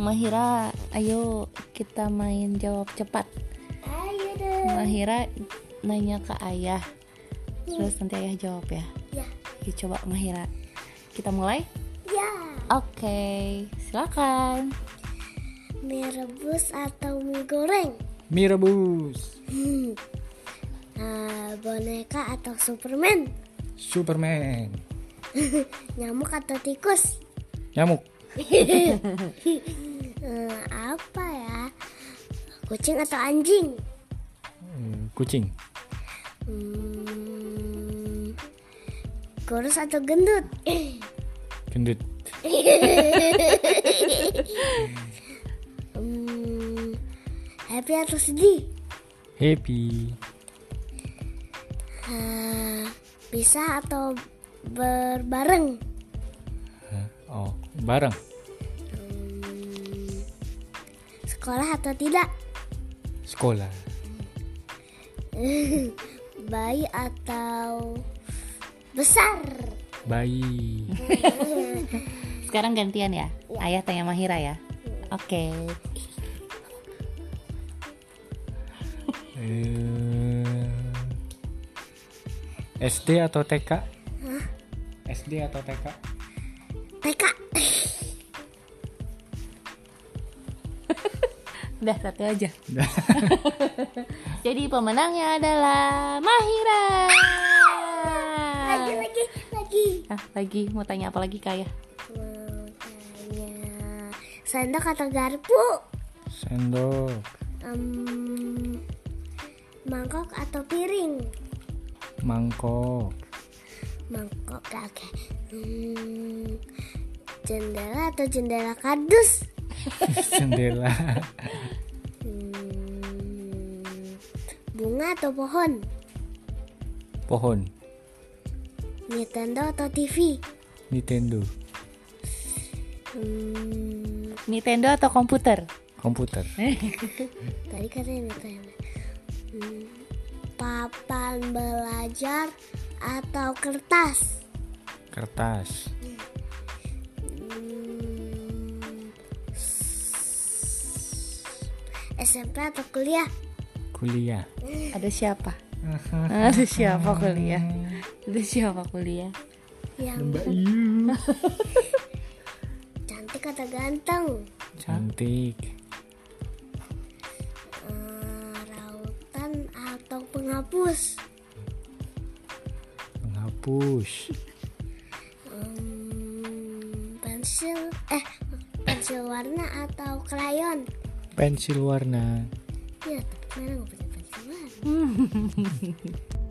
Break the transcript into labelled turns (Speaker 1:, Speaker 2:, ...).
Speaker 1: Mahira, ayo kita main jawab cepat.
Speaker 2: Ayo dong.
Speaker 1: Mahira nanya ke ayah. Terus nanti ayah jawab ya.
Speaker 2: Ya.
Speaker 1: Yuk coba Mahira. Kita mulai?
Speaker 2: Ya.
Speaker 1: Oke, silakan.
Speaker 2: Mie rebus atau mie goreng?
Speaker 3: Mie rebus,
Speaker 2: Hmm. Ah, boneka atau Superman?
Speaker 3: Superman,
Speaker 2: Nyamuk atau tikus?
Speaker 3: nyamuk,
Speaker 2: Eh, apa ya? Kucing atau anjing?
Speaker 3: Hmm, kucing,
Speaker 2: Hmm. Kurus atau gendut?
Speaker 3: gendut,
Speaker 2: Hmm. Happy atau sedih?
Speaker 3: happy,
Speaker 2: Ah, bisa atau berbareng?
Speaker 3: Hah? oh bareng,
Speaker 2: Sekolah atau tidak?
Speaker 3: sekolah,
Speaker 2: Bayi atau besar?
Speaker 3: bayi,
Speaker 1: Sekarang gantian ya. Ayah tanya Mahira ya. Oke.
Speaker 3: Eh, SD atau TK? SD atau TK?
Speaker 2: TK?
Speaker 1: Udah satu aja. Jadi pemenangnya adalah Mahira.
Speaker 2: Lagi lagi lagi.
Speaker 1: Nah, lagi mau tanya apa lagi kak ya? Ayah?
Speaker 2: Mau tanya, Sendok atau garpu?
Speaker 3: Sendok,
Speaker 2: Em, mangkok atau piring?
Speaker 3: mangkok,
Speaker 2: Mangkok oke. Hmm, jendela atau jendela kardus?
Speaker 3: jendela,
Speaker 2: Hmm, bunga atau pohon?
Speaker 3: pohon,
Speaker 2: Nintendo atau TV?
Speaker 3: Nintendo,
Speaker 2: Hmm,
Speaker 1: Nintendo atau komputer?
Speaker 3: komputer,
Speaker 2: tadi katanya Nintendo. Hmm, papan belajar atau kertas?
Speaker 3: kertas,
Speaker 2: Hmm, s- SMP atau kuliah?
Speaker 3: kuliah,
Speaker 1: Ada siapa? Ada siapa kuliah? Ada siapa kuliah?
Speaker 2: Yang cantik atau ganteng?
Speaker 3: cantik,
Speaker 2: Hmm, rautan atau penghapus?
Speaker 3: menghapus,
Speaker 2: Hmm, pensil eh pensil warna atau krayon
Speaker 3: pensil warna.
Speaker 2: Iya, ya tapi mana nggak punya pensil warna